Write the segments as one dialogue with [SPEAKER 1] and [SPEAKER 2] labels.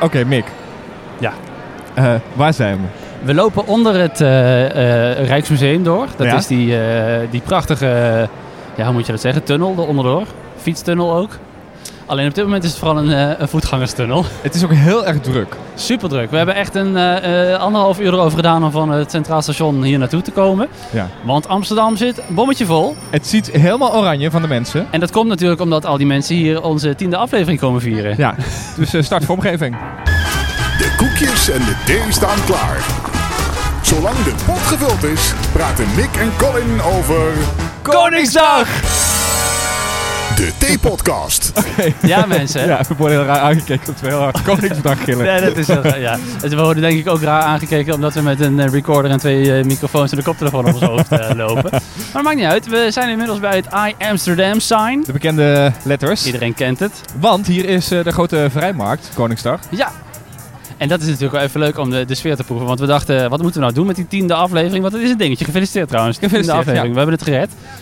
[SPEAKER 1] Oké, Mick.
[SPEAKER 2] Ja.
[SPEAKER 1] Eh, waar zijn we?
[SPEAKER 2] We lopen onder het eh, eh, Rijksmuseum door. Dat
[SPEAKER 1] Ja.
[SPEAKER 2] is die, eh, die prachtige, eh, ja, hoe moet je dat zeggen, tunnel onderdoor. Fietstunnel ook. Alleen op dit moment is het vooral een, eh, een voetgangerstunnel.
[SPEAKER 1] Het is ook heel erg druk.
[SPEAKER 2] Super druk. We hebben echt een eh, eh, anderhalf uur erover gedaan om van het Centraal Station hier naartoe te komen.
[SPEAKER 1] Ja.
[SPEAKER 2] Want Amsterdam zit een bommetje vol.
[SPEAKER 1] Het ziet helemaal oranje van de mensen.
[SPEAKER 2] En dat komt natuurlijk omdat al die mensen hier onze tiende aflevering komen vieren.
[SPEAKER 1] Ja, dus eh, start voor omgeving.
[SPEAKER 3] De koekjes en de thee staan klaar. Zolang de pot gevuld is, praten Mick en Colin over
[SPEAKER 2] Koningsdag!
[SPEAKER 3] de Theepodcast.
[SPEAKER 2] Ja, mensen.
[SPEAKER 1] Ja, we worden heel raar aangekeken omdat we heel hard Koningsdag gillen.
[SPEAKER 2] Ja, dat is heel raar, ja. Het- We worden denk ik ook raar aangekeken omdat we met een eh, recorder en twee eh, microfoons en een koptelefoon op ons hoofd eh, lopen. Maar het maakt niet uit, we zijn inmiddels bij het I Amsterdam sign.
[SPEAKER 1] De bekende letters.
[SPEAKER 2] Iedereen kent het.
[SPEAKER 1] Want hier is eh, de grote vrijmarkt, Koningsdag.
[SPEAKER 2] Ja. En dat is natuurlijk wel even leuk om de, de sfeer te proeven. Want we dachten, wat moeten we nou doen met die tiende aflevering? Want het is een dingetje. Gefeliciteerd trouwens. De tiende
[SPEAKER 1] Gefeliciteerd,
[SPEAKER 2] aflevering. We hebben het gered.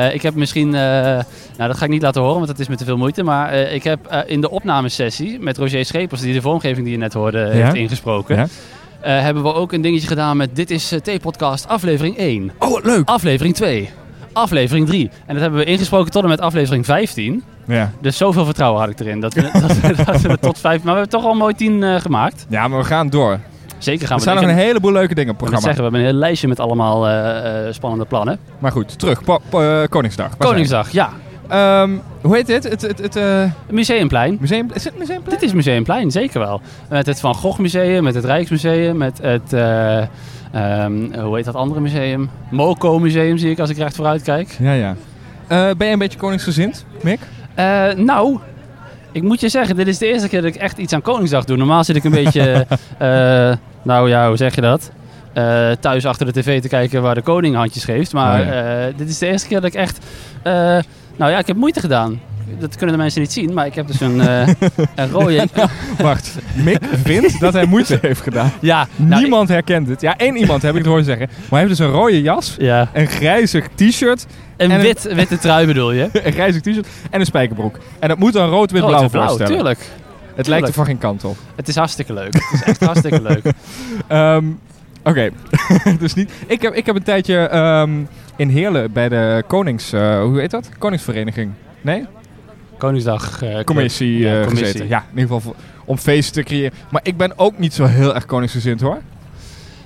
[SPEAKER 2] Eh, ik heb misschien, eh, nou dat ga ik niet laten horen, want dat is me te veel moeite. Maar eh, ik heb eh, in de opnamesessie met Roger Schepers, die de vormgeving die je net hoorde, heeft ingesproken.
[SPEAKER 1] Ja.
[SPEAKER 2] eh, hebben we ook een dingetje gedaan met Dit is eh, T-podcast aflevering 1.
[SPEAKER 1] Oh, leuk.
[SPEAKER 2] Aflevering 2. Aflevering 3. En dat hebben we ingesproken tot en met aflevering 15.
[SPEAKER 1] Ja.
[SPEAKER 2] Dus zoveel vertrouwen had ik erin. Dat we, dat we, dat we het tot vijf. Maar we hebben toch al mooi tien eh, gemaakt.
[SPEAKER 1] ja, maar we gaan door.
[SPEAKER 2] Zeker Nou, gaan
[SPEAKER 1] Er
[SPEAKER 2] we
[SPEAKER 1] staan nog
[SPEAKER 2] ik
[SPEAKER 1] een
[SPEAKER 2] heb-
[SPEAKER 1] heleboel leuke dingen op
[SPEAKER 2] ik
[SPEAKER 1] het
[SPEAKER 2] moet
[SPEAKER 1] programma.
[SPEAKER 2] zeggen, we hebben een heel lijstje met allemaal eh, eh, spannende plannen.
[SPEAKER 1] Maar goed, terug. Po- po- eh, Koningsdag. Waar zijn we?
[SPEAKER 2] Koningsdag, ja.
[SPEAKER 1] Ehm, hoe heet dit? Het, het, het eh,
[SPEAKER 2] Museumplein.
[SPEAKER 1] museum... Is het museumplein?
[SPEAKER 2] Dit is Museumplein, zeker wel. Met het Van Gogh Museum, met het Rijksmuseum, met het... eh, ehm, hoe heet dat andere museum? Moco Museum zie ik als ik recht vooruit kijk.
[SPEAKER 1] Ja, ja. Eh, ben je een beetje koningsgezind, Mick?
[SPEAKER 2] Eh, nou, ik moet je zeggen, dit is de eerste keer dat ik echt iets aan Koningsdag doe. Normaal zit ik een beetje, eh, nou ja, hoe zeg je dat? Eh, thuis achter de tv te kijken waar de koning handjes geeft. Maar
[SPEAKER 1] Oh
[SPEAKER 2] eh, dit is de eerste keer dat ik echt, eh, nou ja, ik heb moeite gedaan. Dat kunnen de mensen niet zien, maar ik heb dus een, eh, een rode...
[SPEAKER 1] Wacht, Mick vindt dat hij moeite heeft gedaan.
[SPEAKER 2] Ja, nou, ik-
[SPEAKER 1] Niemand herkent het. Ja, één iemand heb ik het horen zeggen. Maar hij heeft dus een rode jas,
[SPEAKER 2] ja,
[SPEAKER 1] een grijzig t-shirt,
[SPEAKER 2] een
[SPEAKER 1] En-
[SPEAKER 2] wit, witte trui bedoel je?
[SPEAKER 1] een grijzig t-shirt en een spijkerbroek. En dat moet dan rood-wit-blauw
[SPEAKER 2] Rood en Oh, blauw,
[SPEAKER 1] voorstellen.
[SPEAKER 2] tuurlijk.
[SPEAKER 1] Het lijkt er van geen kant op.
[SPEAKER 2] Het is hartstikke leuk. Het is echt hartstikke leuk.
[SPEAKER 1] Ehm, Oké, dus niet. Ik heb, ik heb een tijdje ehm, in Heerlen bij de Konings... eh, hoe heet dat? Koningsvereniging. Nee?
[SPEAKER 2] Koningsdag. eh,
[SPEAKER 1] Commissie,
[SPEAKER 2] Ja,
[SPEAKER 1] eh,
[SPEAKER 2] commissie.
[SPEAKER 1] gezeten. Ja, in ieder geval voor- om feesten te creëren. Maar ik ben ook niet zo heel erg koningsgezind hoor.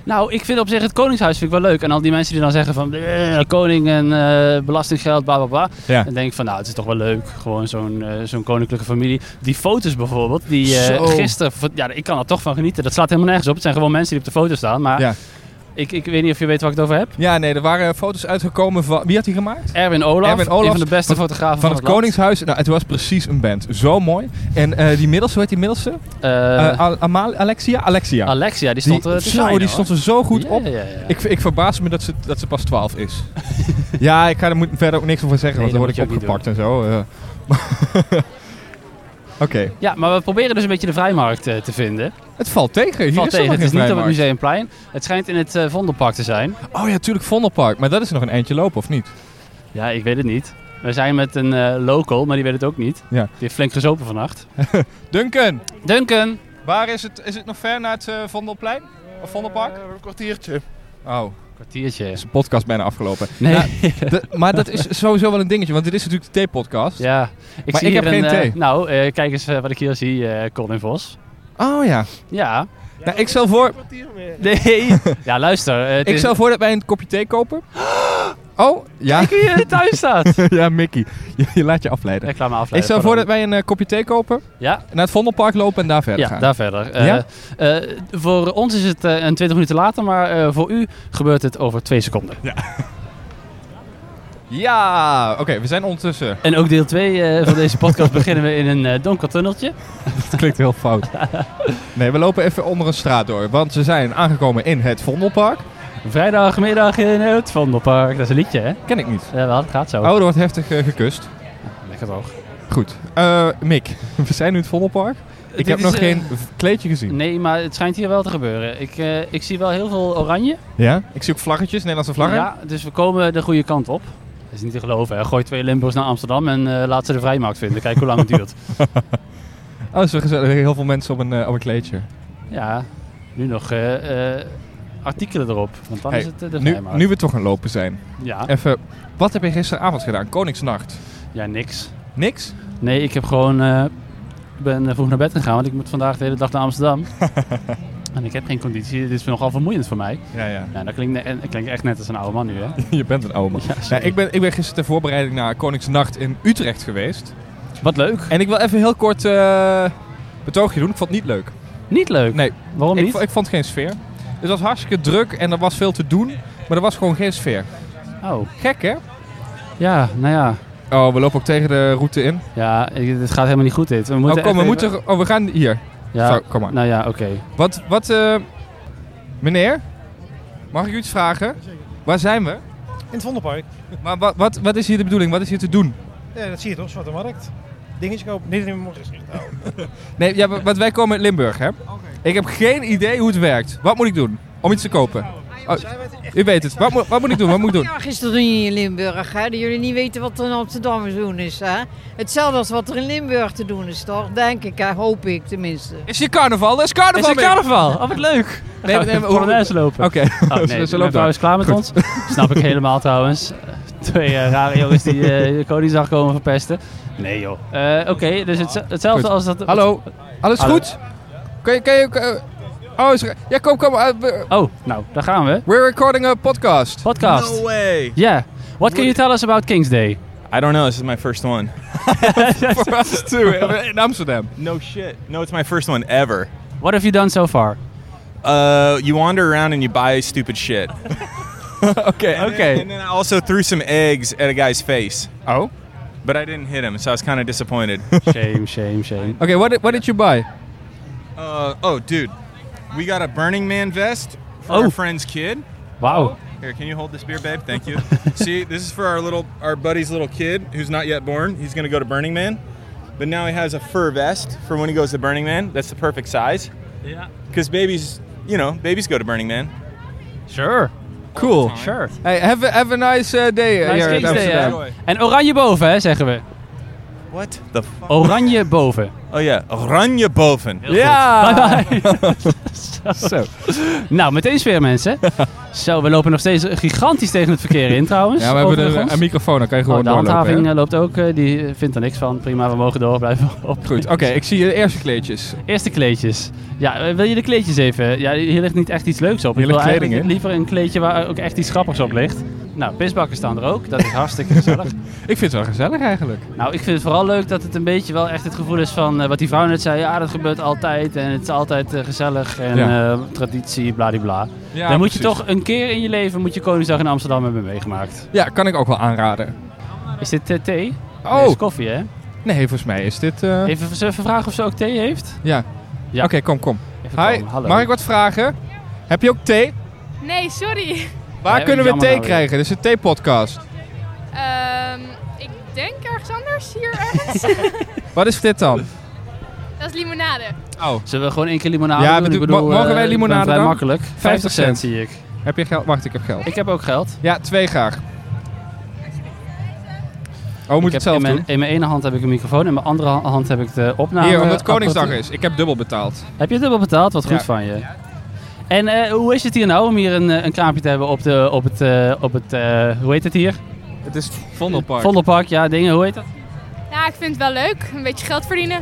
[SPEAKER 2] Nou, ik vind op zich het Koningshuis vind ik wel leuk. En al die mensen die dan zeggen van "Eh, koning en eh, belastinggeld, bla bla bla.
[SPEAKER 1] Ja.
[SPEAKER 2] Dan denk ik van nou, het is toch wel leuk. Gewoon zo'n eh, zo'n koninklijke familie. Die foto's bijvoorbeeld, die eh,
[SPEAKER 1] Zo.
[SPEAKER 2] gisteren, v- ja, ik kan er toch van genieten. Dat slaat helemaal nergens op. Het zijn gewoon mensen die op de foto staan. Maar
[SPEAKER 1] Ja.
[SPEAKER 2] ik, ik weet niet of je weet waar ik het over heb.
[SPEAKER 1] Ja, nee, er waren foto's uitgekomen van... Wie had die gemaakt?
[SPEAKER 2] Erwin Olaf,
[SPEAKER 1] Erwin Olaf,
[SPEAKER 2] een van de beste fotografen
[SPEAKER 1] Van het
[SPEAKER 2] land.
[SPEAKER 1] Koningshuis. Nou, het was precies een band. Zo mooi. En eh, die middelste, hoe heet die middelste?
[SPEAKER 2] Eh,
[SPEAKER 1] Eh, Al- Amal- Alexia? Alexia.
[SPEAKER 2] Alexia, die
[SPEAKER 1] Die-
[SPEAKER 2] stond eh, er
[SPEAKER 1] zo, die stond er zo goed op.
[SPEAKER 2] Ik
[SPEAKER 1] Ik, ik verbaas me dat ze, dat ze pas 12 is. ja, ik ga er moet verder ook niks over zeggen,
[SPEAKER 2] Nee,
[SPEAKER 1] want dan
[SPEAKER 2] dat
[SPEAKER 1] word ik
[SPEAKER 2] moet je
[SPEAKER 1] opgepakt
[SPEAKER 2] ook
[SPEAKER 1] en zo. eh. Oké,
[SPEAKER 2] ja, maar we proberen dus een beetje de vrijmarkt eh, te vinden.
[SPEAKER 1] het valt tegen. Hier
[SPEAKER 2] Valt
[SPEAKER 1] is er
[SPEAKER 2] tegen,
[SPEAKER 1] nog
[SPEAKER 2] het is
[SPEAKER 1] geen
[SPEAKER 2] niet op het
[SPEAKER 1] vrijmarkt.
[SPEAKER 2] Museumplein. Het schijnt in het eh, Vondelpark te zijn.
[SPEAKER 1] Oh ja, tuurlijk Vondelpark. Maar dat is nog een eindje lopen, of niet?
[SPEAKER 2] Ja, ik weet het niet. We zijn met een eh, local, maar die weet het ook niet.
[SPEAKER 1] Ja.
[SPEAKER 2] Die heeft flink gezopen vannacht.
[SPEAKER 1] Duncan,
[SPEAKER 2] Duncan!
[SPEAKER 1] waar is het? Is het nog ver naar het eh, Vondelplein? Of Vondelpark?
[SPEAKER 4] Eh, een kwartiertje.
[SPEAKER 1] Oh,
[SPEAKER 2] Kwartiertje. Nou,
[SPEAKER 1] is de podcast bijna afgelopen. Nou,
[SPEAKER 2] Nee. Ja.
[SPEAKER 1] De- maar dat is sowieso wel een dingetje, want dit is natuurlijk de thee-podcast.
[SPEAKER 2] Ik
[SPEAKER 1] Maar
[SPEAKER 2] zie
[SPEAKER 1] ik heb
[SPEAKER 2] hier
[SPEAKER 1] geen
[SPEAKER 2] een, eh,
[SPEAKER 1] thee.
[SPEAKER 2] nou, eh, kijk eens eh, wat ik hier zie, eh, Colin Vos.
[SPEAKER 1] Oh ja.
[SPEAKER 2] Ja.
[SPEAKER 1] Nou, ik stel voor,
[SPEAKER 4] Een kwartier meer.
[SPEAKER 2] Nee. ja, luister. eh, het
[SPEAKER 1] ik
[SPEAKER 2] is-
[SPEAKER 1] stel voor dat wij een kopje thee kopen. Oh, ja.
[SPEAKER 2] Kijk wie er thuis staat.
[SPEAKER 1] ja, Mickey. Je, je laat je afleiden.
[SPEAKER 2] ik laat me afleiden.
[SPEAKER 1] Ik stel voor
[SPEAKER 2] pardon.
[SPEAKER 1] dat wij een eh, kopje thee kopen,
[SPEAKER 2] Ja,
[SPEAKER 1] naar het Vondelpark lopen en daar verder
[SPEAKER 2] ja
[SPEAKER 1] gaan.
[SPEAKER 2] daar verder. Eh,
[SPEAKER 1] Ja?
[SPEAKER 2] eh, voor ons is het eh, een 20 minuten later, maar eh, voor u gebeurt het over twee seconden.
[SPEAKER 1] Ja, oké, we zijn ondertussen.
[SPEAKER 2] En ook deel 2 van deze podcast beginnen we in een eh, donker tunneltje.
[SPEAKER 1] Het klinkt heel fout. nee, we lopen even onder een straat door, want we zijn aangekomen in het Vondelpark.
[SPEAKER 2] Vrijdagmiddag in het Vondelpark. Dat is een liedje, hè?
[SPEAKER 1] Ken ik niet.
[SPEAKER 2] Ja, wel, het gaat zo.
[SPEAKER 1] Oh, er wordt heftig eh, gekust.
[SPEAKER 2] Lekker droog.
[SPEAKER 1] Goed. Eh, Mick, we zijn nu in het Vondelpark. Ik
[SPEAKER 2] Dit
[SPEAKER 1] heb dus,
[SPEAKER 2] is,
[SPEAKER 1] nog
[SPEAKER 2] eh,
[SPEAKER 1] geen v- kleedje gezien.
[SPEAKER 2] Nee, maar het schijnt hier wel te gebeuren. Ik, eh, ik zie wel heel veel oranje.
[SPEAKER 1] Ja? Ik zie ook vlaggetjes, Nederlandse vlaggen.
[SPEAKER 2] Ja, dus we komen de goede kant op. Dat is niet te geloven, hè. Gooi twee Limburgs naar Amsterdam en eh, laat ze de vrijmarkt vinden. Kijk hoe lang het duurt.
[SPEAKER 1] Oké, Oh, zo gezellig. Heel veel mensen op een, eh, op een kleedje.
[SPEAKER 2] Ja, nu nog eh, eh, artikelen erop. Want dan
[SPEAKER 1] Hey,
[SPEAKER 2] is het eh, de
[SPEAKER 1] Nu,
[SPEAKER 2] vrijmarkt.
[SPEAKER 1] nu we toch aan lopen zijn.
[SPEAKER 2] Ja.
[SPEAKER 1] Even, wat heb je gisteravond gedaan? Koningsnacht.
[SPEAKER 2] ja, niks.
[SPEAKER 1] Niks?
[SPEAKER 2] Nee, ik heb gewoon... eh, ik ben eh, vroeg naar bed gegaan, want ik moet vandaag de hele dag naar Amsterdam. en ik heb geen conditie. Dit is nogal vermoeiend voor mij.
[SPEAKER 1] Ja, ja.
[SPEAKER 2] Ja, dat klinkt, ne- en- dat klinkt echt net als een oude man nu, hè?
[SPEAKER 1] Je bent een oma.
[SPEAKER 2] Ja,
[SPEAKER 1] Ja,
[SPEAKER 2] sorry.
[SPEAKER 1] ik, ben, ik ben gisteren ter voorbereiding naar Koningsnacht in Utrecht geweest.
[SPEAKER 2] Wat leuk.
[SPEAKER 1] En ik wil even heel kort eh betoogje doen. Ik vond het niet leuk.
[SPEAKER 2] Niet leuk.
[SPEAKER 1] Nee,
[SPEAKER 2] Waarom
[SPEAKER 1] ik,
[SPEAKER 2] niet?
[SPEAKER 1] vo- ik vond geen sfeer. Het was hartstikke druk en er was veel te doen. Maar er was gewoon geen sfeer.
[SPEAKER 2] Oh,
[SPEAKER 1] Gek, hè?
[SPEAKER 2] ja, nou ja.
[SPEAKER 1] Oh, we lopen ook tegen de route in.
[SPEAKER 2] Ja, ik- dit gaat helemaal niet goed, dit. We moeten
[SPEAKER 1] oh, kom, we
[SPEAKER 2] echt even-
[SPEAKER 1] moeten... Oh, we gaan hier.
[SPEAKER 2] Ja,
[SPEAKER 1] Zo, kom maar.
[SPEAKER 2] nou ja, oké.
[SPEAKER 1] Wat, wat, eh, meneer? Mag ik u iets vragen? Waar zijn we?
[SPEAKER 4] In het Vondelpark.
[SPEAKER 1] Maar wat, wat, wat is hier de bedoeling? Wat is hier te doen?
[SPEAKER 4] Ja, dat zie je toch, Zwarte Markt. Dingetje kopen. Nee, dat neem ik morgen gezicht houden.
[SPEAKER 1] Nee, ja, wa- want wij komen uit Limburg, hè? Ik heb geen idee hoe het werkt. Wat moet ik doen om iets te kopen?
[SPEAKER 5] Ah,
[SPEAKER 1] Oh, u weet het. Wat, moet- wat moet ik doen? Wat moet ik doen?
[SPEAKER 5] Ja, gisteren doen jullie in Limburg, hè? Dat jullie niet weten wat er in Amsterdam te doen is, hè? Hetzelfde als wat er in Limburg te doen is, toch? Denk ik, hè? Hoop ik tenminste.
[SPEAKER 1] Is hier carnaval? Er is carnaval!
[SPEAKER 2] Is het
[SPEAKER 1] mee.
[SPEAKER 2] carnaval? Oh, wat leuk.
[SPEAKER 1] Nee,
[SPEAKER 2] Nee, we
[SPEAKER 1] nee, maar
[SPEAKER 2] even
[SPEAKER 1] hoe-
[SPEAKER 2] Polonaise lopen.
[SPEAKER 1] Oké, Dus
[SPEAKER 2] Oh,
[SPEAKER 1] ze-
[SPEAKER 2] nee,
[SPEAKER 1] ze
[SPEAKER 2] ze
[SPEAKER 1] lopen
[SPEAKER 2] is klaar met ons. Snap ik helemaal trouwens. Twee eh, rare jongens die eh, de Koningsdag komen verpesten. Nee joh. Eh, Oké, dus het, hetzelfde
[SPEAKER 1] Goed.
[SPEAKER 2] als dat...
[SPEAKER 1] Hallo, alles
[SPEAKER 2] Hallo.
[SPEAKER 1] goed? Kan je... Kan je kan- oh, is er- ja, kom, kom. eh, we-
[SPEAKER 2] Oh, nou, daar gaan we.
[SPEAKER 1] we're recording a podcast.
[SPEAKER 2] Podcast.
[SPEAKER 6] No way.
[SPEAKER 2] Yeah. What can you tell us about King's Day?
[SPEAKER 6] I don't know. This is my first one.
[SPEAKER 1] For us too, in Amsterdam.
[SPEAKER 6] No shit. No, it's my first one ever.
[SPEAKER 2] What have you done so far?
[SPEAKER 6] Uh, you wander around and you buy stupid shit.
[SPEAKER 1] Oké, oké.
[SPEAKER 6] And then I also threw some eggs at a guy's face,
[SPEAKER 1] Oh?
[SPEAKER 6] but I didn't hit him, so I was kind of disappointed.
[SPEAKER 2] Shame, shame, shame.
[SPEAKER 1] Okay, what did, what did you buy?
[SPEAKER 6] uh, oh, dude, we got a Burning Man vest for
[SPEAKER 2] Oh.
[SPEAKER 6] our friend's kid.
[SPEAKER 2] Wow.
[SPEAKER 6] Here, can you hold this beer, babe? Thank you. See, this is for our little, our buddy's little kid who's not yet born. He's gonna go to Burning Man, but now he has a fur vest for when he goes to Burning Man. That's the perfect size.
[SPEAKER 2] Yeah.
[SPEAKER 6] Because babies, you know, babies go to Burning Man.
[SPEAKER 2] Sure.
[SPEAKER 1] Cool.
[SPEAKER 2] Sure.
[SPEAKER 1] Hey, have a, have a nice uh, day uh,
[SPEAKER 2] Nice
[SPEAKER 1] here in
[SPEAKER 2] King's Day,
[SPEAKER 1] Amsterdam.
[SPEAKER 2] hè. En oranje boven, hè, zeggen we.
[SPEAKER 6] What the fuck?
[SPEAKER 2] Oranje boven.
[SPEAKER 6] Oh ja, Oranje Boven.
[SPEAKER 1] Ja!
[SPEAKER 2] Zo. Nou, meteen sfeer, mensen. Zo, we lopen nog steeds gigantisch tegen het verkeer in, trouwens.
[SPEAKER 1] Ja, we hebben er een,
[SPEAKER 2] overigens.
[SPEAKER 1] een microfoon, dan kan je
[SPEAKER 2] Oh,
[SPEAKER 1] gewoon
[SPEAKER 2] de
[SPEAKER 1] doorlopen,
[SPEAKER 2] handhaving
[SPEAKER 1] hè?
[SPEAKER 2] eh, loopt ook, eh, die vindt er niks van. Prima, we mogen door blijven op.
[SPEAKER 1] Goed, oké, ik zie je eerste kleedjes.
[SPEAKER 2] Eerste kleedjes. Ja, eh, wil je de kleedjes even? Ja, hier ligt niet echt iets leuks op.
[SPEAKER 1] Hier
[SPEAKER 2] ik wil
[SPEAKER 1] ligt kleding,
[SPEAKER 2] eigenlijk liever een kleedje waar ook echt iets grappigs op ligt. Nou, pisbakken staan er ook. Dat is hartstikke gezellig.
[SPEAKER 1] Ik vind het wel gezellig eigenlijk.
[SPEAKER 2] Nou, ik vind het vooral leuk dat het een beetje wel echt het gevoel is van eh, wat die vrouw net zei. Ja, dat gebeurt altijd en het is altijd eh, gezellig en
[SPEAKER 1] Ja.
[SPEAKER 2] eh, traditie, bladibla.
[SPEAKER 1] Ja,
[SPEAKER 2] Dan moet je toch een keer in je leven moet je Koningsdag in Amsterdam hebben meegemaakt.
[SPEAKER 1] Ja, kan ik ook wel aanraden.
[SPEAKER 2] Is dit eh, thee?
[SPEAKER 1] Oh.
[SPEAKER 2] Dit is koffie, hè?
[SPEAKER 1] Nee, volgens mij is dit... eh,
[SPEAKER 2] Even, zullen we vragen of ze ook thee heeft?
[SPEAKER 1] Ja.
[SPEAKER 2] Ja.
[SPEAKER 1] Oké, kom, kom.
[SPEAKER 2] Even
[SPEAKER 1] Hi,
[SPEAKER 2] komen, hallo.
[SPEAKER 1] mag ik wat vragen? Heb je ook thee?
[SPEAKER 7] Nee, sorry.
[SPEAKER 1] Waar
[SPEAKER 2] Ja,
[SPEAKER 1] kunnen we
[SPEAKER 2] jammer
[SPEAKER 1] thee
[SPEAKER 2] nou weer.
[SPEAKER 1] krijgen? Dit is een theepodcast.
[SPEAKER 7] Ehm, ik denk ergens anders hier ergens.
[SPEAKER 1] Wat is dit dan?
[SPEAKER 7] dat is limonade.
[SPEAKER 1] Oh.
[SPEAKER 2] Zullen we gewoon één keer limonade
[SPEAKER 1] Ja,
[SPEAKER 2] doen?
[SPEAKER 1] bedoel-
[SPEAKER 2] Ik bedoel,
[SPEAKER 1] mo- mogen
[SPEAKER 2] eh,
[SPEAKER 1] wij
[SPEAKER 2] ik ben
[SPEAKER 1] limonade
[SPEAKER 2] vrij
[SPEAKER 1] dan?
[SPEAKER 2] makkelijk. 50
[SPEAKER 1] cent.
[SPEAKER 2] cent zie ik.
[SPEAKER 1] Heb je geld? Wacht, ik heb geld.
[SPEAKER 2] Ik heb ook geld.
[SPEAKER 1] Ja, twee graag. Oh, moet
[SPEAKER 2] ik
[SPEAKER 1] ik het
[SPEAKER 2] heb
[SPEAKER 1] zelf
[SPEAKER 2] in, mijn,
[SPEAKER 1] doen?
[SPEAKER 2] in mijn ene hand heb ik een microfoon en in mijn andere ha- hand heb ik de opname.
[SPEAKER 1] Hier, omdat Koningsdag
[SPEAKER 2] apparatuur.
[SPEAKER 1] is. Ik heb dubbel betaald.
[SPEAKER 2] Heb je het dubbel betaald? Wat goed
[SPEAKER 1] Ja.
[SPEAKER 2] van je. En eh, hoe is het hier nou om hier een, eh, een kraampje te hebben op, de, op het, eh, op het eh, hoe heet het hier?
[SPEAKER 1] Het is Vondelpark.
[SPEAKER 2] Vondelpark, ja, dingen, hoe heet dat?
[SPEAKER 7] Nou, ik vind het wel leuk. Een beetje geld verdienen.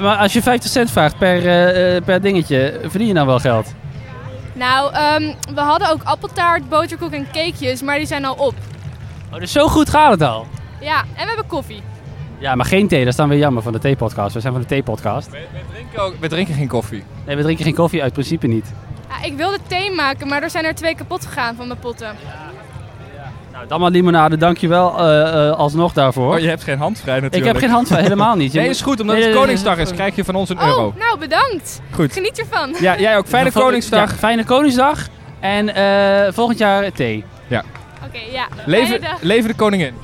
[SPEAKER 2] Maar als je 50 cent vraagt per, eh, eh, per dingetje, verdien je nou wel geld?
[SPEAKER 7] Nou, ehm, we hadden ook appeltaart, boterkoek en cakejes, maar die zijn al op.
[SPEAKER 2] Oh, dus zo goed gaat het al.
[SPEAKER 7] Ja, en we hebben koffie.
[SPEAKER 2] Ja, maar geen thee, dat is dan weer jammer van de theepodcast. We zijn van de theepodcast.
[SPEAKER 1] We drinken geen koffie.
[SPEAKER 2] Nee, we drinken geen koffie uit principe niet.
[SPEAKER 7] Ja, ik wilde thee maken, maar er zijn er twee kapot gegaan van de potten.
[SPEAKER 2] Nou, dan maar limonade, dankjewel eh, eh, alsnog daarvoor.
[SPEAKER 1] Oh, je hebt geen hand vrij
[SPEAKER 2] ik
[SPEAKER 1] natuurlijk.
[SPEAKER 2] heb geen hand van, helemaal niet. Je
[SPEAKER 1] Nee,
[SPEAKER 2] moet-
[SPEAKER 1] is goed. Omdat
[SPEAKER 2] Nee,
[SPEAKER 1] het
[SPEAKER 2] nee, nee,
[SPEAKER 1] Koningsdag
[SPEAKER 2] nee,
[SPEAKER 1] is, krijg je van ons een euro.
[SPEAKER 7] Oh, nou bedankt.
[SPEAKER 1] Goed.
[SPEAKER 7] Geniet ervan.
[SPEAKER 1] Ja, jij ook. Fijne
[SPEAKER 2] Vol-
[SPEAKER 1] Koningsdag.
[SPEAKER 2] Ja, fijne Koningsdag. En eh, volgend jaar thee.
[SPEAKER 7] Oké, ja. Fijne
[SPEAKER 1] Leven,
[SPEAKER 7] dag.
[SPEAKER 1] leven de koningin.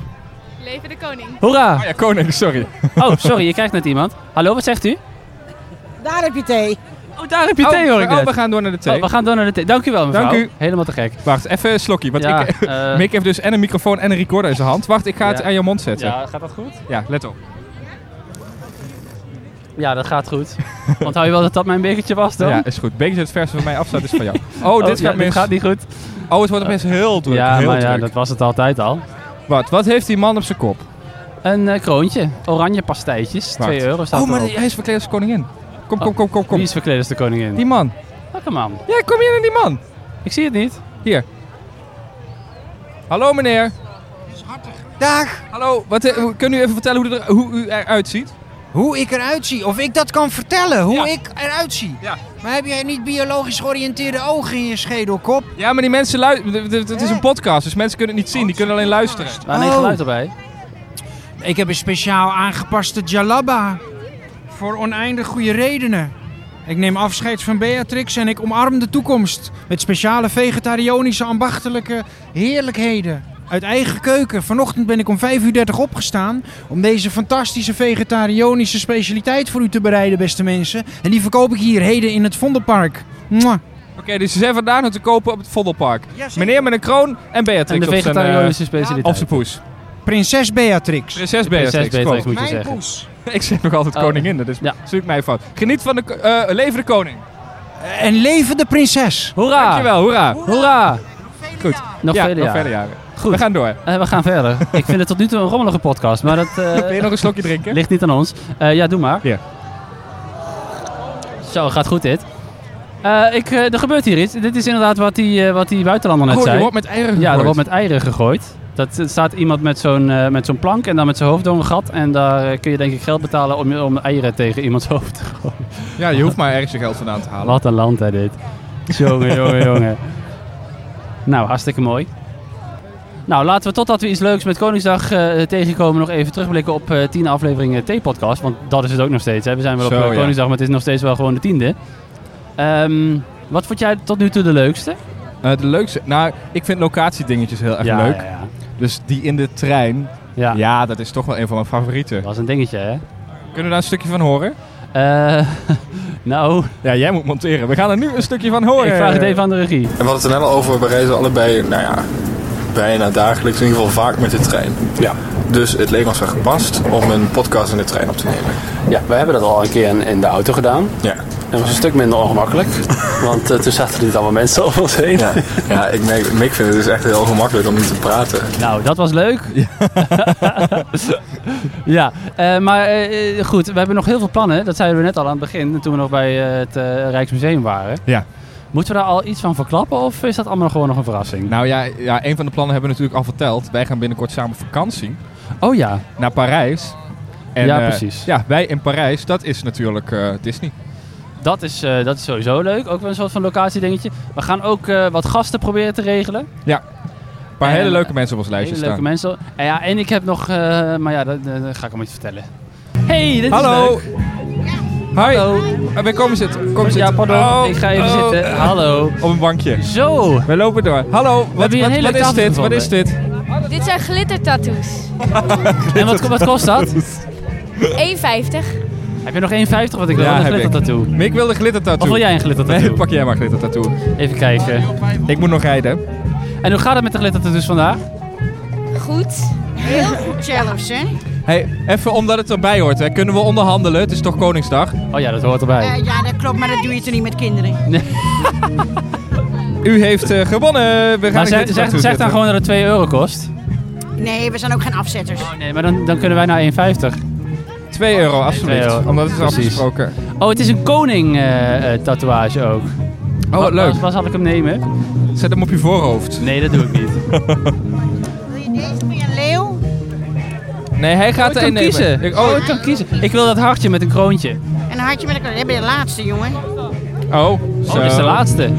[SPEAKER 7] Leven de koning.
[SPEAKER 1] Oh
[SPEAKER 2] Hoera!
[SPEAKER 1] ja, koning, sorry.
[SPEAKER 2] Oh, sorry, je krijgt net iemand. Hallo, wat zegt u?
[SPEAKER 8] Daar heb je thee.
[SPEAKER 2] Oh, daar heb je thee
[SPEAKER 1] oh,
[SPEAKER 2] hoor ik
[SPEAKER 1] oh,
[SPEAKER 2] net.
[SPEAKER 1] we gaan door naar de thee.
[SPEAKER 2] Oh, we gaan door naar de thee. Dank u wel, mevrouw.
[SPEAKER 1] Dank u.
[SPEAKER 2] Helemaal te gek.
[SPEAKER 1] Wacht, even een slokje. Want
[SPEAKER 2] Ja,
[SPEAKER 1] ik,
[SPEAKER 2] eh,
[SPEAKER 1] Mick heeft dus en een microfoon en een recorder in zijn hand. Wacht, ik ga het
[SPEAKER 2] Ja.
[SPEAKER 1] aan je mond zetten. Ja,
[SPEAKER 2] Ja, gaat dat goed?
[SPEAKER 1] let op.
[SPEAKER 2] Ja, dat gaat goed. Onthoud je wel dat dat mijn bekertje was dan?
[SPEAKER 1] Ja, is goed. Beekjes het verse van mij afstaat is van jou. Oh,
[SPEAKER 2] Oh,
[SPEAKER 1] dit
[SPEAKER 2] ja,
[SPEAKER 1] gaat mis.
[SPEAKER 2] niet goed.
[SPEAKER 1] Oh, het wordt opeens heel druk.
[SPEAKER 2] ja,
[SPEAKER 1] heel
[SPEAKER 2] maar ja,
[SPEAKER 1] druk.
[SPEAKER 2] dat was het altijd al.
[SPEAKER 1] Wat? Wat heeft die man op zijn kop?
[SPEAKER 2] Een eh, kroontje. Oranje pastijtjes. 2 euro staat
[SPEAKER 1] oh, maar
[SPEAKER 2] erop.
[SPEAKER 1] hij is verkleed als koningin. Kom, kom, kom, kom, kom.
[SPEAKER 2] Oh, Wie is verkleed als de koningin?
[SPEAKER 1] Die man.
[SPEAKER 2] Lekker man.
[SPEAKER 1] Ja, kom hier in die man.
[SPEAKER 2] Ik zie het niet.
[SPEAKER 1] Hier. Hallo meneer. Is Dag. Hallo, wat, eh, hoe- kunt u even vertellen hoe, dit er, hoe u eruit ziet?
[SPEAKER 9] Hoe ik eruit zie, of ik dat kan vertellen, hoe
[SPEAKER 1] Ja.
[SPEAKER 9] ik eruit zie.
[SPEAKER 1] Ja.
[SPEAKER 9] Maar heb jij niet biologisch georiënteerde ogen in je schedelkop?
[SPEAKER 1] Ja, maar die mensen luisteren. Het is een podcast, dus mensen kunnen het niet zien. Die kunnen alleen luisteren.
[SPEAKER 2] Waar neemt
[SPEAKER 9] Oh.
[SPEAKER 2] geluid erbij?
[SPEAKER 9] Ik heb een speciaal aangepaste jalaba. Voor oneindig goede redenen. Ik neem afscheid van Beatrix en ik omarm de toekomst. Met speciale vegetarianische ambachtelijke heerlijkheden. Uit eigen keuken. Vanochtend ben ik om 5.30 uur opgestaan. Om deze fantastische vegetarianische specialiteit voor u te bereiden, beste mensen. En die verkoop ik hier heden in het Vondelpark. Mwah.
[SPEAKER 1] Oké, dus ze zijn vandaag nog te kopen op het Vondelpark. Meneer met een kroon en Beatrix
[SPEAKER 2] En de
[SPEAKER 1] op zijn, eh,
[SPEAKER 2] vegetarische
[SPEAKER 1] op
[SPEAKER 2] specialiteit.
[SPEAKER 1] zijn poes.
[SPEAKER 9] Prinses Beatrix.
[SPEAKER 1] Prinses Beatrix.
[SPEAKER 2] Prinses Beatrix
[SPEAKER 1] klopt.
[SPEAKER 2] moet je
[SPEAKER 9] Mijn
[SPEAKER 2] zeggen.
[SPEAKER 9] poes.
[SPEAKER 1] Ik zeg nog altijd
[SPEAKER 2] Oh.
[SPEAKER 1] koningin, dat is
[SPEAKER 2] Ja.
[SPEAKER 1] natuurlijk mijn fout. Geniet van de... ko- eh leven de koning.
[SPEAKER 9] En leven de prinses.
[SPEAKER 2] Hoera!
[SPEAKER 1] Dankjewel, hoera.
[SPEAKER 2] Ah. Hoera!
[SPEAKER 1] Goed.
[SPEAKER 2] Nog
[SPEAKER 1] ja,
[SPEAKER 2] vele
[SPEAKER 1] nog
[SPEAKER 2] jaren.
[SPEAKER 1] verder jaren.
[SPEAKER 2] Goed.
[SPEAKER 1] We gaan door.
[SPEAKER 2] Eh, we gaan verder. ik vind het tot nu toe een rommelige podcast, maar dat eh,
[SPEAKER 1] Wil je nog een slokje drinken?
[SPEAKER 2] ligt niet aan ons. Eh, ja, doe maar.
[SPEAKER 1] Ja.
[SPEAKER 2] Zo, gaat goed dit. Eh, ik, eh, er gebeurt hier iets. Dit is inderdaad wat die, eh, wat die buitenlander net
[SPEAKER 1] oh,
[SPEAKER 2] zei.
[SPEAKER 1] je wordt met eieren
[SPEAKER 2] Ja, er
[SPEAKER 1] gegooid.
[SPEAKER 2] wordt met eieren gegooid. Dat eh, staat iemand met zo'n eh, met zo'n plank en dan met zijn hoofd door een gat. En daar eh, kun je denk ik geld betalen om, om eieren tegen iemands hoofd te gooien.
[SPEAKER 1] Ja, je hoeft maar ergens je geld vandaan te halen.
[SPEAKER 2] Wat een land hè dit. Jongen, jongen, jongen. Nou, hartstikke mooi. Nou, laten we totdat we iets leuks met Koningsdag eh, tegenkomen nog even terugblikken op eh tien afleveringen T-podcast. Want dat is het ook nog steeds. Hè. We zijn wel op
[SPEAKER 1] Zo,
[SPEAKER 2] eh,
[SPEAKER 1] ja.
[SPEAKER 2] Koningsdag, maar het is nog steeds wel gewoon de tiende. Ehm, wat vond jij tot nu toe de leukste?
[SPEAKER 1] Eh, de leukste... Nou, ik vind locatiedingetjes heel erg
[SPEAKER 2] ja,
[SPEAKER 1] leuk.
[SPEAKER 2] Ja, ja.
[SPEAKER 1] Dus die in de trein.
[SPEAKER 2] ja.
[SPEAKER 1] Ja. dat is toch wel een van mijn favorieten.
[SPEAKER 2] dat was een dingetje hè.
[SPEAKER 1] Kunnen we daar een stukje van horen?
[SPEAKER 2] Eh, nou,
[SPEAKER 1] Ja, jij moet monteren. We gaan er nu een stukje van horen.
[SPEAKER 2] ik vraag het even aan de regie.
[SPEAKER 10] En we hadden het er net al over, we reizen allebei, nou ja, bijna dagelijks, in ieder geval vaak met de trein. Ja. Dus het leek ons wel gepast om een podcast in de trein op te nemen.
[SPEAKER 11] Ja, we hebben dat al een keer in, in de auto gedaan.
[SPEAKER 10] Ja.
[SPEAKER 11] Dat was een stuk minder ongemakkelijk, want eh, toen zaten er niet allemaal mensen over ons heen.
[SPEAKER 10] Ja, ja ik merk, Mick vindt het dus echt heel gemakkelijk om niet te praten.
[SPEAKER 2] Nou, dat was leuk. Ja, eh, maar eh, goed, we hebben nog heel veel plannen. Dat zeiden we net al aan het begin, toen we nog bij eh, het eh, Rijksmuseum waren.
[SPEAKER 1] Ja.
[SPEAKER 2] Moeten we daar al iets van verklappen of is dat allemaal gewoon nog een verrassing?
[SPEAKER 1] Nou ja, ja, een van de plannen hebben we natuurlijk al verteld. Wij gaan binnenkort samen op vakantie
[SPEAKER 2] Oh ja,
[SPEAKER 1] naar Parijs. En,
[SPEAKER 2] Ja,
[SPEAKER 1] eh,
[SPEAKER 2] precies.
[SPEAKER 1] Ja, wij in Parijs, dat is natuurlijk eh, Disney.
[SPEAKER 2] dat is, eh, dat is sowieso leuk. Ook wel een soort van locatiedingetje. We gaan ook eh, wat gasten proberen te regelen.
[SPEAKER 1] Een paar
[SPEAKER 2] En,
[SPEAKER 1] hele leuke mensen op ons lijstje
[SPEAKER 2] Hele leuke
[SPEAKER 1] staan.
[SPEAKER 2] mensen. En, ja, en ik heb nog, eh, maar ja, dat, dat- dat ga ik hem iets vertellen. Hey, dit is
[SPEAKER 1] Hallo.
[SPEAKER 2] leuk.
[SPEAKER 1] Hi.
[SPEAKER 2] Hallo.
[SPEAKER 1] Ah, ben- Kom zitten. Kom
[SPEAKER 2] Ja,
[SPEAKER 1] zitten.
[SPEAKER 2] pardon.
[SPEAKER 1] Oh,
[SPEAKER 2] ik ga even
[SPEAKER 1] oh,
[SPEAKER 2] zitten.
[SPEAKER 1] eh,
[SPEAKER 2] Hallo.
[SPEAKER 1] Op een bankje.
[SPEAKER 2] Zo.
[SPEAKER 1] We lopen door. Hallo, wat,
[SPEAKER 2] hebben hier
[SPEAKER 1] wat,
[SPEAKER 2] een hele
[SPEAKER 1] wat is
[SPEAKER 2] tafel
[SPEAKER 1] dit? Wat
[SPEAKER 2] gevonden.
[SPEAKER 1] is dit?
[SPEAKER 7] Dit zijn glittertattoos.
[SPEAKER 2] En wat, wat kost dat?
[SPEAKER 7] 1,50.
[SPEAKER 2] Heb je nog 1,50 wat ik wil?
[SPEAKER 1] Ja,
[SPEAKER 2] een
[SPEAKER 1] heb ik.
[SPEAKER 2] glittertattoo.
[SPEAKER 1] Mick wil een glittertattoo.
[SPEAKER 2] Of wil jij een glittertattoo?
[SPEAKER 1] Nee, pak jij maar glittertattoo.
[SPEAKER 2] Even kijken.
[SPEAKER 1] Ik moet nog rijden.
[SPEAKER 2] En hoe gaat het met de glittertattoos vandaag?
[SPEAKER 7] Goed.
[SPEAKER 8] Heel goed zelfs, hè?
[SPEAKER 1] Hey, even omdat het erbij hoort, hè. kunnen we onderhandelen? Het is toch Koningsdag?
[SPEAKER 2] Oh ja, dat hoort erbij.
[SPEAKER 8] Eh, ja, dat klopt, maar dat doe je toch niet met kinderen?
[SPEAKER 1] U heeft eh, gewonnen. We gaan
[SPEAKER 2] Maar
[SPEAKER 1] een
[SPEAKER 2] zeg,
[SPEAKER 1] glittertattoo
[SPEAKER 2] zeg, zeg
[SPEAKER 1] zetten.
[SPEAKER 2] dan gewoon dat het 2 euro kost.
[SPEAKER 8] Nee, we zijn ook geen afzetters.
[SPEAKER 2] Nee, maar dan, dan kunnen wij naar 1,50.
[SPEAKER 1] 2 euro, absoluut.
[SPEAKER 2] €2.
[SPEAKER 1] Omdat het is
[SPEAKER 2] Precies.
[SPEAKER 1] afgesproken.
[SPEAKER 2] Oh, het is een koning eh, eh, tatoeage ook.
[SPEAKER 1] Oh, wat leuk.
[SPEAKER 2] Waar, waar zal ik hem nemen?
[SPEAKER 1] Zet hem op je voorhoofd.
[SPEAKER 2] Nee, dat doe ik niet.
[SPEAKER 8] Wil je deze met een leeuw?
[SPEAKER 1] Nee, hij gaat
[SPEAKER 2] ik kan
[SPEAKER 1] er een nemen.
[SPEAKER 2] kiezen.
[SPEAKER 1] Ik-
[SPEAKER 2] oh,
[SPEAKER 1] oh,
[SPEAKER 2] ik kan kiezen. Ik wil dat hartje met een kroontje.
[SPEAKER 8] En een hartje met een leeuw. Dat ben je de laatste, jongen.
[SPEAKER 1] oh,
[SPEAKER 2] Oh,
[SPEAKER 1] zo.
[SPEAKER 2] dat is de laatste.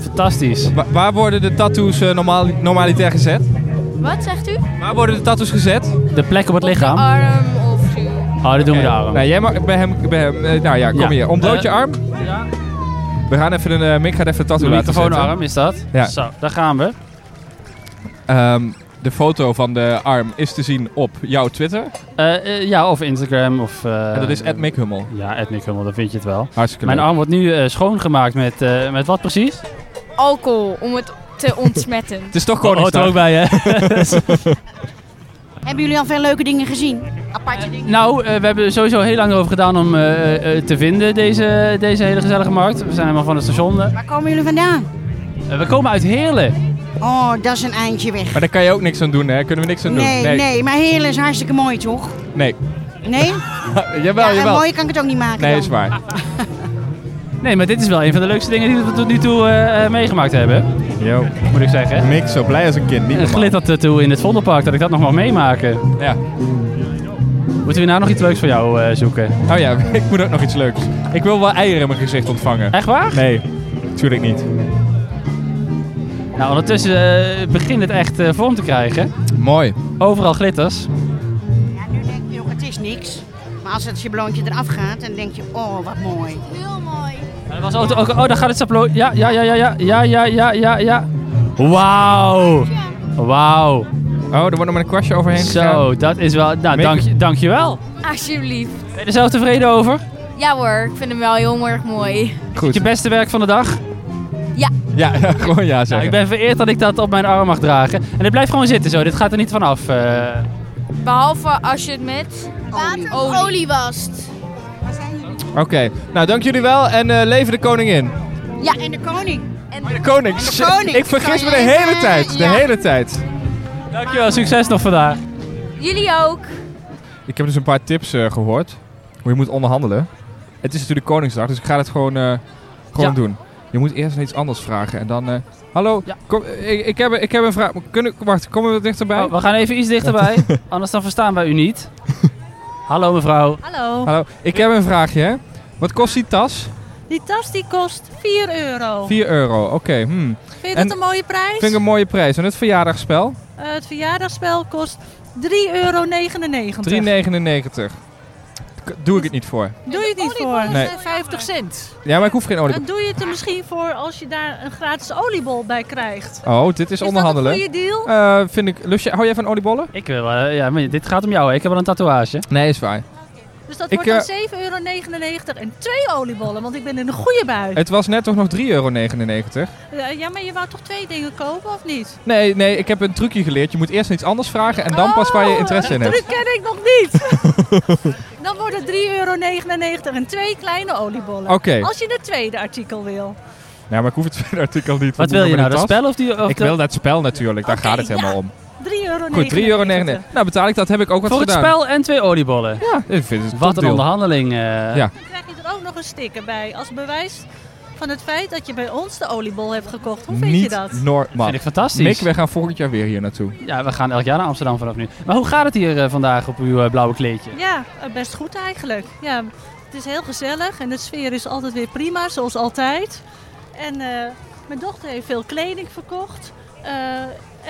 [SPEAKER 2] Fantastisch.
[SPEAKER 1] Wa- waar worden de tattoos eh, normaal, normaliter gezet?
[SPEAKER 7] Wat zegt u?
[SPEAKER 1] Waar worden de tattoos gezet?
[SPEAKER 2] De plek op het
[SPEAKER 7] Op de
[SPEAKER 2] lichaam.
[SPEAKER 7] arm of zo.
[SPEAKER 2] Oh, dat doen we
[SPEAKER 1] Oké.
[SPEAKER 2] de arm.
[SPEAKER 1] Nou, jij mag bij hem... Bij hem eh, nou ja, kom
[SPEAKER 2] Ja.
[SPEAKER 1] hier. Ontbloot je
[SPEAKER 2] Eh,
[SPEAKER 1] arm.
[SPEAKER 2] Ja.
[SPEAKER 1] We gaan even een... eh, Mick gaat even een tattoo
[SPEAKER 2] De
[SPEAKER 1] laten zetten.
[SPEAKER 2] microfoonarm is dat?
[SPEAKER 1] Ja.
[SPEAKER 2] Zo, daar gaan we.
[SPEAKER 1] Ehm, de foto van de arm is te zien op jouw Twitter.
[SPEAKER 2] Eh, eh, ja, of Instagram of... eh,
[SPEAKER 1] en dat is Ed Mick Hummel.
[SPEAKER 2] Ja, Ethnic Hummel, dan vind je het wel.
[SPEAKER 1] Hartstikke
[SPEAKER 2] Mijn
[SPEAKER 1] leuk.
[SPEAKER 2] arm wordt nu eh, schoongemaakt met, eh, met wat precies?
[SPEAKER 7] Alcohol om het te ontsmetten.
[SPEAKER 2] Oh,
[SPEAKER 1] Het is toch
[SPEAKER 2] Hoort er
[SPEAKER 1] Koningsdag.
[SPEAKER 2] ook bij, hè?
[SPEAKER 8] Hebben jullie al veel leuke dingen gezien? aparte dingen.
[SPEAKER 2] Nou, eh, we hebben er sowieso heel lang over gedaan om eh, eh, te vinden deze, deze hele gezellige markt. We zijn helemaal van het station. eh.
[SPEAKER 8] Waar komen jullie vandaan?
[SPEAKER 2] Eh, we komen uit Heerlen.
[SPEAKER 8] Oh, dat is een eindje weg.
[SPEAKER 1] Maar daar kan je ook niks aan doen, hè? Kunnen we niks aan
[SPEAKER 8] Nee,
[SPEAKER 1] doen?
[SPEAKER 8] nee, maar Heerlen is hartstikke mooi, toch?
[SPEAKER 1] Nee.
[SPEAKER 8] Nee?
[SPEAKER 1] jawel,
[SPEAKER 8] en
[SPEAKER 1] jawel.
[SPEAKER 8] mooi kan ik het ook niet maken
[SPEAKER 1] Nee,
[SPEAKER 8] dan.
[SPEAKER 1] is waar.
[SPEAKER 2] Nee, maar dit is wel een van de leukste dingen die we tot nu toe eh, eh, meegemaakt hebben.
[SPEAKER 1] Yo.
[SPEAKER 2] Moet ik zeggen.
[SPEAKER 1] Niks, zo blij als een kind. Niet
[SPEAKER 2] Een glittertattoo in het Vondelpark, dat ik dat nog mag meemaken.
[SPEAKER 1] Ja.
[SPEAKER 2] Moeten we nou nog iets leuks voor jou eh, zoeken?
[SPEAKER 1] Oh ja, ik moet ook nog iets leuks. Ik wil wel eieren in mijn gezicht ontvangen.
[SPEAKER 2] Echt waar?
[SPEAKER 1] Nee, natuurlijk niet.
[SPEAKER 2] Nou, ondertussen eh, begint het echt eh, vorm te krijgen.
[SPEAKER 1] Mooi.
[SPEAKER 2] Overal glitters.
[SPEAKER 8] Joh, Het is niks. Maar als het sjabloontje eraf gaat, dan denk je, oh, wat mooi.
[SPEAKER 7] Heel mooi.
[SPEAKER 2] Er was ook, ook- oh, daar gaat het saplo. Ja, ja, ja, ja, ja, ja, ja, ja, ja, ja. Wauw. Wauw.
[SPEAKER 1] Oh, er wordt nog maar een kwastje overheen
[SPEAKER 2] Zo, dat is wel... Nou, dank, je- dankjewel.
[SPEAKER 7] Alsjeblieft.
[SPEAKER 2] Ben je er zelf tevreden over?
[SPEAKER 7] Ja hoor, ik vind hem wel heel erg mooi.
[SPEAKER 1] Goed.
[SPEAKER 2] Je beste werk van de dag?
[SPEAKER 7] Ja.
[SPEAKER 1] Ja, gewoon ja
[SPEAKER 2] Nou, ik ben vereerd dat ik dat op mijn arm mag dragen. En dit blijft gewoon zitten zo, dit gaat er niet vanaf. eh.
[SPEAKER 7] Behalve als je het met water olie, wast.
[SPEAKER 1] Oké, nou dank jullie wel en eh, leven de koning in.
[SPEAKER 7] Ja,
[SPEAKER 8] en de koning.
[SPEAKER 7] En
[SPEAKER 1] De koning. shit. Ik vergis me de hele tijd. De hele tijd.
[SPEAKER 2] Dankjewel, succes nog vandaag.
[SPEAKER 7] Jullie ook.
[SPEAKER 1] Ik heb dus een paar tips eh, gehoord. Hoe je moet onderhandelen. Het is natuurlijk Koningsdag, dus ik ga het gewoon, eh, gewoon
[SPEAKER 2] Ja.
[SPEAKER 1] doen. Je moet eerst iets anders vragen en dan... eh, hallo, kom, eh, ik, ik, heb, ik heb een vraag. Kunnen, wacht, komen we dichterbij?
[SPEAKER 2] Oh, we gaan even iets dichterbij, anders dan verstaan wij u niet. Hallo mevrouw.
[SPEAKER 12] Hallo.
[SPEAKER 1] Hallo, ik heb een vraagje. hè. Wat kost die tas?
[SPEAKER 12] Die tas die kost 4 euro.
[SPEAKER 1] 4 euro, oké. hmm.
[SPEAKER 12] Vind je
[SPEAKER 1] En-
[SPEAKER 12] dat een mooie prijs?
[SPEAKER 1] Vind ik een mooie prijs. En het verjaardagsspel?
[SPEAKER 12] Eh, het verjaardagsspel kost 3,99 euro.
[SPEAKER 1] 3,99. K- Doe ik het niet voor.
[SPEAKER 12] Doe je het niet voor?
[SPEAKER 1] Nee.
[SPEAKER 12] Eh, 50 cent.
[SPEAKER 1] Ja, maar ik hoef geen olie.
[SPEAKER 12] Dan doe je het er misschien voor als je daar een gratis oliebol bij krijgt.
[SPEAKER 1] Oh, dit is,
[SPEAKER 12] dat
[SPEAKER 1] onderhandelen.
[SPEAKER 12] een goede deal?
[SPEAKER 1] Eh, vind ik. Lust je, hou jij van oliebollen?
[SPEAKER 2] Ik wil, eh, ja, maar dit gaat om jou, hè. ik heb wel een tatoeage.
[SPEAKER 1] Nee, is waar.
[SPEAKER 12] Dus dat
[SPEAKER 1] Ik,
[SPEAKER 12] wordt dan
[SPEAKER 1] eh,
[SPEAKER 12] 7,99 euro en twee oliebollen, want ik ben in een goede bui.
[SPEAKER 1] Het was net toch nog 3,99 euro?
[SPEAKER 12] Eh, ja, maar je wou toch twee dingen kopen, of niet?
[SPEAKER 1] Nee, nee, ik heb een trucje geleerd. Je moet eerst iets anders vragen en dan pas waar
[SPEAKER 12] Oh,
[SPEAKER 1] je interesse in
[SPEAKER 12] Dat
[SPEAKER 1] hebt.
[SPEAKER 12] truc ken ik nog niet. Dan worden 3,99 euro en twee kleine oliebollen.
[SPEAKER 1] Oké.
[SPEAKER 12] Als je het tweede artikel wil.
[SPEAKER 1] Ja, maar ik hoef het tweede artikel niet.
[SPEAKER 2] Wat
[SPEAKER 1] Moet
[SPEAKER 2] wil je
[SPEAKER 1] ik
[SPEAKER 2] nou,
[SPEAKER 1] met
[SPEAKER 2] dat
[SPEAKER 1] tas?
[SPEAKER 2] spel of die- of
[SPEAKER 1] ik
[SPEAKER 2] de-
[SPEAKER 1] wil dat spel natuurlijk, daar gaat het helemaal om.
[SPEAKER 12] 3,99 euro.
[SPEAKER 1] Goed, 3,99 euro. Nou, betaal ik dat, heb ik ook wat
[SPEAKER 2] Voor het
[SPEAKER 1] gedaan.
[SPEAKER 2] spel en twee oliebollen.
[SPEAKER 1] Ja, ik vind het
[SPEAKER 2] Wat een
[SPEAKER 1] topdeal.
[SPEAKER 2] onderhandeling. eh.
[SPEAKER 1] Ja.
[SPEAKER 12] Dan krijg je er ook nog een sticker bij. Als bewijs van het feit dat je bij ons de oliebol hebt gekocht. Hoe vind
[SPEAKER 1] niet
[SPEAKER 12] je dat?
[SPEAKER 1] normaal.
[SPEAKER 2] Vind ik fantastisch.
[SPEAKER 1] Mick, we gaan volgend jaar weer hier naartoe.
[SPEAKER 2] Ja, we gaan elk jaar naar Amsterdam vanaf nu. Maar hoe gaat het hier eh, vandaag op uw eh, blauwe kleedje?
[SPEAKER 12] Ja, eh, best goed eigenlijk. Ja, het is heel gezellig en de sfeer is altijd weer prima, zoals altijd. En eh, mijn dochter heeft veel kleding verkocht. Eh,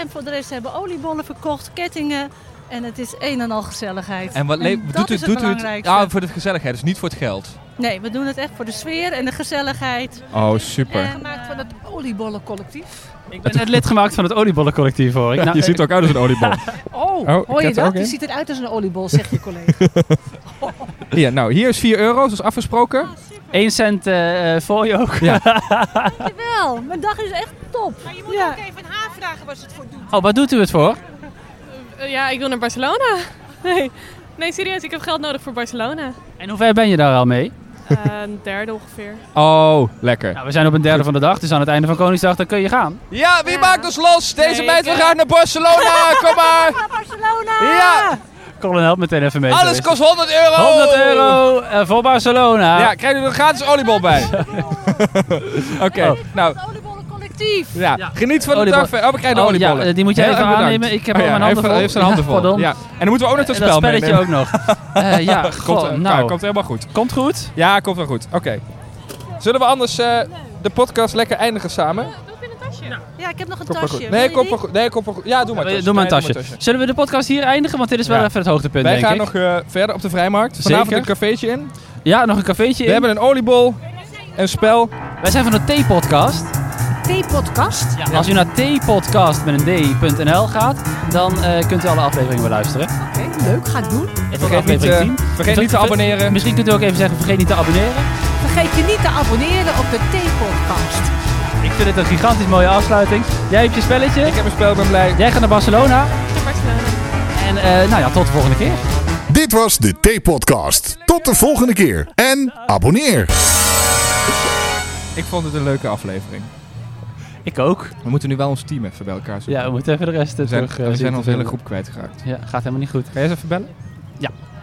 [SPEAKER 12] en voor de rest hebben oliebollen verkocht, kettingen. En het is een en al gezelligheid.
[SPEAKER 1] En wat
[SPEAKER 12] en
[SPEAKER 1] le-
[SPEAKER 12] dat
[SPEAKER 1] doet u
[SPEAKER 12] is het
[SPEAKER 1] doet u
[SPEAKER 12] belangrijkste.
[SPEAKER 1] Ah, voor de gezelligheid, dus niet voor het geld.
[SPEAKER 12] Nee, we doen het echt voor de sfeer en de gezelligheid.
[SPEAKER 1] Oh, super.
[SPEAKER 12] Gemaakt van het oliebollencollectief.
[SPEAKER 2] Ik ben net lid gemaakt van het oliebollencollectief hoor. Ik,
[SPEAKER 1] Ja, je ziet er ook uit als een oliebol.
[SPEAKER 13] Oh,
[SPEAKER 1] Oh, ik
[SPEAKER 13] hoor
[SPEAKER 1] heb
[SPEAKER 13] je
[SPEAKER 1] er
[SPEAKER 13] dat?
[SPEAKER 1] ook
[SPEAKER 13] Die
[SPEAKER 1] een.
[SPEAKER 13] ziet eruit als een oliebol, zegt je collega.
[SPEAKER 1] Hier, nou, hier is 4 euro, zoals afgesproken.
[SPEAKER 2] 1 Nou, cent eh, eh, voor je ook.
[SPEAKER 12] Jawel, mijn dag is echt top. Maar je moet ook even haar vragen waar ze het voor doet.
[SPEAKER 2] Oh, wat doet u het voor?
[SPEAKER 14] ja, ik wil naar Barcelona. Nee. nee, serieus, ik heb geld nodig voor Barcelona.
[SPEAKER 2] En hoe ver ben je daar al mee?
[SPEAKER 14] Eh, een derde ongeveer.
[SPEAKER 1] Oh, lekker.
[SPEAKER 2] Nou, we zijn op een derde van de dag, dus aan het einde van Koningsdag, dan kun je gaan.
[SPEAKER 1] Ja, wie maakt ons los? Deze
[SPEAKER 14] Nee,
[SPEAKER 1] meid,
[SPEAKER 14] ik,
[SPEAKER 1] we
[SPEAKER 14] eh,
[SPEAKER 1] gaan naar Barcelona. Kom maar.
[SPEAKER 12] Barcelona!
[SPEAKER 1] Ja,
[SPEAKER 2] Colin, help meteen even mee.
[SPEAKER 1] alles kost 100 euro.
[SPEAKER 2] 100 euro eh, voor Barcelona.
[SPEAKER 1] Ja, krijg je er een gratis oliebol bij. Oké, nou.
[SPEAKER 12] Collectief.
[SPEAKER 1] Ja, geniet van de
[SPEAKER 2] Oh. Oliebol-
[SPEAKER 1] dag. verder. Oh, we krijgen de
[SPEAKER 2] Oh,
[SPEAKER 1] oliebollen.
[SPEAKER 2] ja, die moet jij
[SPEAKER 1] Heel
[SPEAKER 2] even
[SPEAKER 1] erg bedankt.
[SPEAKER 2] aannemen. Ik heb
[SPEAKER 1] Oh
[SPEAKER 2] al
[SPEAKER 1] ja,
[SPEAKER 2] mijn
[SPEAKER 1] hij
[SPEAKER 2] handen
[SPEAKER 1] heeft-
[SPEAKER 2] vol.
[SPEAKER 1] hij heeft zijn handen
[SPEAKER 2] Ja,
[SPEAKER 1] vol.
[SPEAKER 2] pardon.
[SPEAKER 1] Ja. En dan moeten we ook nog dat
[SPEAKER 2] En dat
[SPEAKER 1] spel
[SPEAKER 2] spelletje
[SPEAKER 1] meenemen.
[SPEAKER 2] ook nog. Eh, ja, goh,
[SPEAKER 1] komt,
[SPEAKER 2] nou.
[SPEAKER 1] komt helemaal goed.
[SPEAKER 2] Komt goed?
[SPEAKER 1] Ja, komt wel goed. Oké. Zullen we anders eh, de podcast lekker eindigen samen?
[SPEAKER 12] Ja, ik heb nog een
[SPEAKER 1] Komt wel
[SPEAKER 12] tasje. Wil je
[SPEAKER 1] goed. Nee,
[SPEAKER 12] die?
[SPEAKER 1] komt wel goed. Nee, komt wel goed. Ja, doe maar
[SPEAKER 2] Doe
[SPEAKER 1] tasje.
[SPEAKER 2] maar een
[SPEAKER 1] Nee, doe
[SPEAKER 2] tasje. Zullen we de podcast hier eindigen? Want dit is wel
[SPEAKER 1] Ja.
[SPEAKER 2] even het hoogtepunt,
[SPEAKER 1] Wij
[SPEAKER 2] denk
[SPEAKER 1] gaan
[SPEAKER 2] ik.
[SPEAKER 1] nog eh, verder op de vrijmarkt. Vanavond
[SPEAKER 2] Zeker.
[SPEAKER 1] een cafeetje in.
[SPEAKER 2] Ja, nog een cafeetje in.
[SPEAKER 1] We hebben een oliebol, een spel.
[SPEAKER 2] Wij zijn van de T-podcast.
[SPEAKER 13] Theepodcast?
[SPEAKER 2] Ja. Als u naar tpodcast met een d.nl gaat, dan eh, kunt u alle afleveringen beluisteren.
[SPEAKER 13] Oké, leuk, ga ik doen.
[SPEAKER 1] Vergeet niet, eh, vergeet niet te abonneren.
[SPEAKER 2] Misschien kunt u ook even zeggen, vergeet niet te abonneren.
[SPEAKER 13] Vergeet je niet te abonneren op de Theepodcast.
[SPEAKER 2] Ik vind het een gigantisch mooie afsluiting. Jij hebt je spelletje. Ik
[SPEAKER 1] heb een spel, ben blij.
[SPEAKER 2] Jij gaat naar Barcelona.
[SPEAKER 14] Naar Barcelona.
[SPEAKER 2] En eh, nou ja, tot de volgende keer.
[SPEAKER 3] Dit was de T-podcast. Tot de volgende keer en abonneer.
[SPEAKER 1] Ik vond het een leuke aflevering.
[SPEAKER 2] Ik ook.
[SPEAKER 1] We moeten nu wel ons team even bij elkaar zoeken.
[SPEAKER 2] Ja, we moeten even de rest, eh,
[SPEAKER 1] we zijn,
[SPEAKER 2] terug, eh,
[SPEAKER 1] We
[SPEAKER 2] zien
[SPEAKER 1] zijn
[SPEAKER 2] te
[SPEAKER 1] onze hele
[SPEAKER 2] vinden.
[SPEAKER 1] groep kwijtgeraakt.
[SPEAKER 2] Ja, gaat helemaal niet goed.
[SPEAKER 1] Ga je eens even bellen?
[SPEAKER 2] Ja.